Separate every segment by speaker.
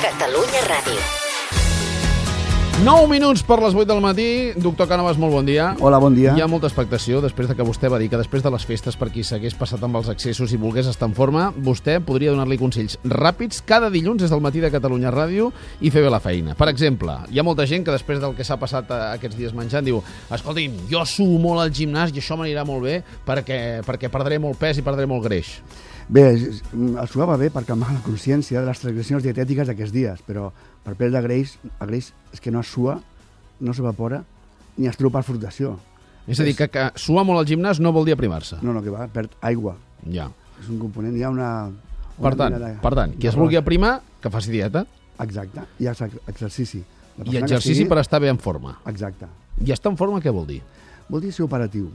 Speaker 1: Catalunya Ràdio.
Speaker 2: 9 minuts per les 8 del matí. Doctor Cànovas, molt bon dia.
Speaker 3: Hola, bon dia.
Speaker 2: Hi ha molta expectació després de que vostè va dir que després de les festes per qui s'hagués passat amb els accessos i volgués estar en forma, vostè podria donar-li consells ràpids cada dilluns des del matí de Catalunya Ràdio i fer bé la feina. Per exemple, hi ha molta gent que després del que s'ha passat eh, aquests dies menjant diu escolti'm, jo suo molt al gimnàs i això m'anirà molt bé perquè, perquè perdré molt pes i perdré molt greix.
Speaker 3: Bé, es- el suar va bé per calmar la consciència de les transgressions dietètiques d'aquests dies, però per perdre greix, el greix és que no es sua, no s'evapora, ni es troba per flotació.
Speaker 2: És a dir, que, que suar molt al gimnàs no vol dir aprimar-se.
Speaker 3: No, no, que va, perd aigua.
Speaker 2: Ja.
Speaker 3: És un component, hi ha una... una
Speaker 2: Per tant,
Speaker 3: mena de-
Speaker 2: per tant, qui es
Speaker 3: de-
Speaker 2: vulgui aprimar, que faci dieta
Speaker 3: Exacte, i ex exercici.
Speaker 2: i
Speaker 3: La persona que
Speaker 2: exercici
Speaker 3: sigui-
Speaker 2: per estar bé en forma.
Speaker 3: Exacte.
Speaker 2: I estar en forma què vol dir?
Speaker 3: Vol dir ser operatiu.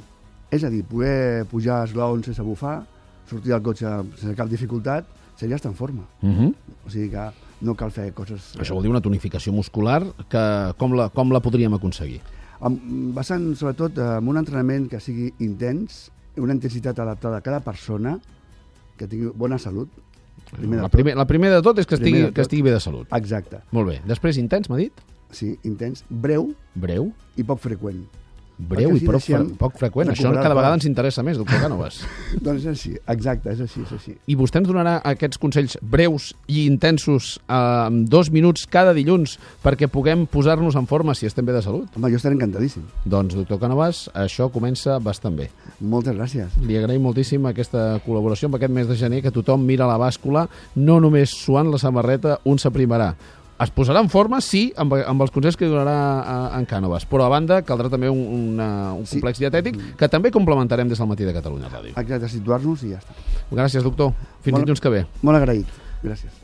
Speaker 3: És a dir, poder pujar esglaons sense bufar, sortir del cotxe sense cap dificultat, seria estar en forma.
Speaker 2: Uh -huh.
Speaker 3: O sigui que no cal fer coses...
Speaker 2: Això vol dir una tonificació muscular que com la, com la podríem aconseguir?
Speaker 3: Amb, basant sobretot eh, en un entrenament que sigui intens, una intensitat adaptada a cada persona, que tingui bona salut. Primer de
Speaker 2: La,
Speaker 3: tot.
Speaker 2: primer, la primera de tot és que estigui,
Speaker 3: Primer de
Speaker 2: que
Speaker 3: tot.
Speaker 2: estigui bé de salut.
Speaker 3: Exacte.
Speaker 2: Molt bé. Després, intens, m'ha dit?
Speaker 3: Sí, intens, breu
Speaker 2: Breu.
Speaker 3: i poc freqüent.
Speaker 2: Breu i
Speaker 3: Perquè així
Speaker 2: poc, fre
Speaker 3: deixem
Speaker 2: poc freqüent. Això
Speaker 3: recuperar
Speaker 2: cada
Speaker 3: el
Speaker 2: vegada
Speaker 3: pes.
Speaker 2: ens interessa més, doctor Cànovas.
Speaker 3: doncs és així, exacte, és així, és així.
Speaker 2: I vostè ens donarà aquests consells breus i intensos eh, en dos minuts cada dilluns perquè puguem posar-nos en forma si estem bé de salut?
Speaker 3: Home, jo estaré encantadíssim.
Speaker 2: Doncs, doctor Cànovas, això comença bastant bé.
Speaker 3: Moltes gràcies.
Speaker 2: Li agraïm moltíssim aquesta col·laboració amb aquest mes de gener, que tothom mira la bàscula, no només suant la samarreta, un s'aprimarà. Es posarà en forma, sí, amb, amb els consells que donarà eh, en Cànovas, però a banda caldrà també un, una, un
Speaker 3: Sí.
Speaker 2: complex dietètic que també complementarem des del matí de Catalunya Ràdio.
Speaker 3: Exacte, situar-nos i ja està.
Speaker 2: Gràcies, doctor. Fins
Speaker 3: Bona-
Speaker 2: dilluns que ve.
Speaker 3: Molt agraït. Gràcies.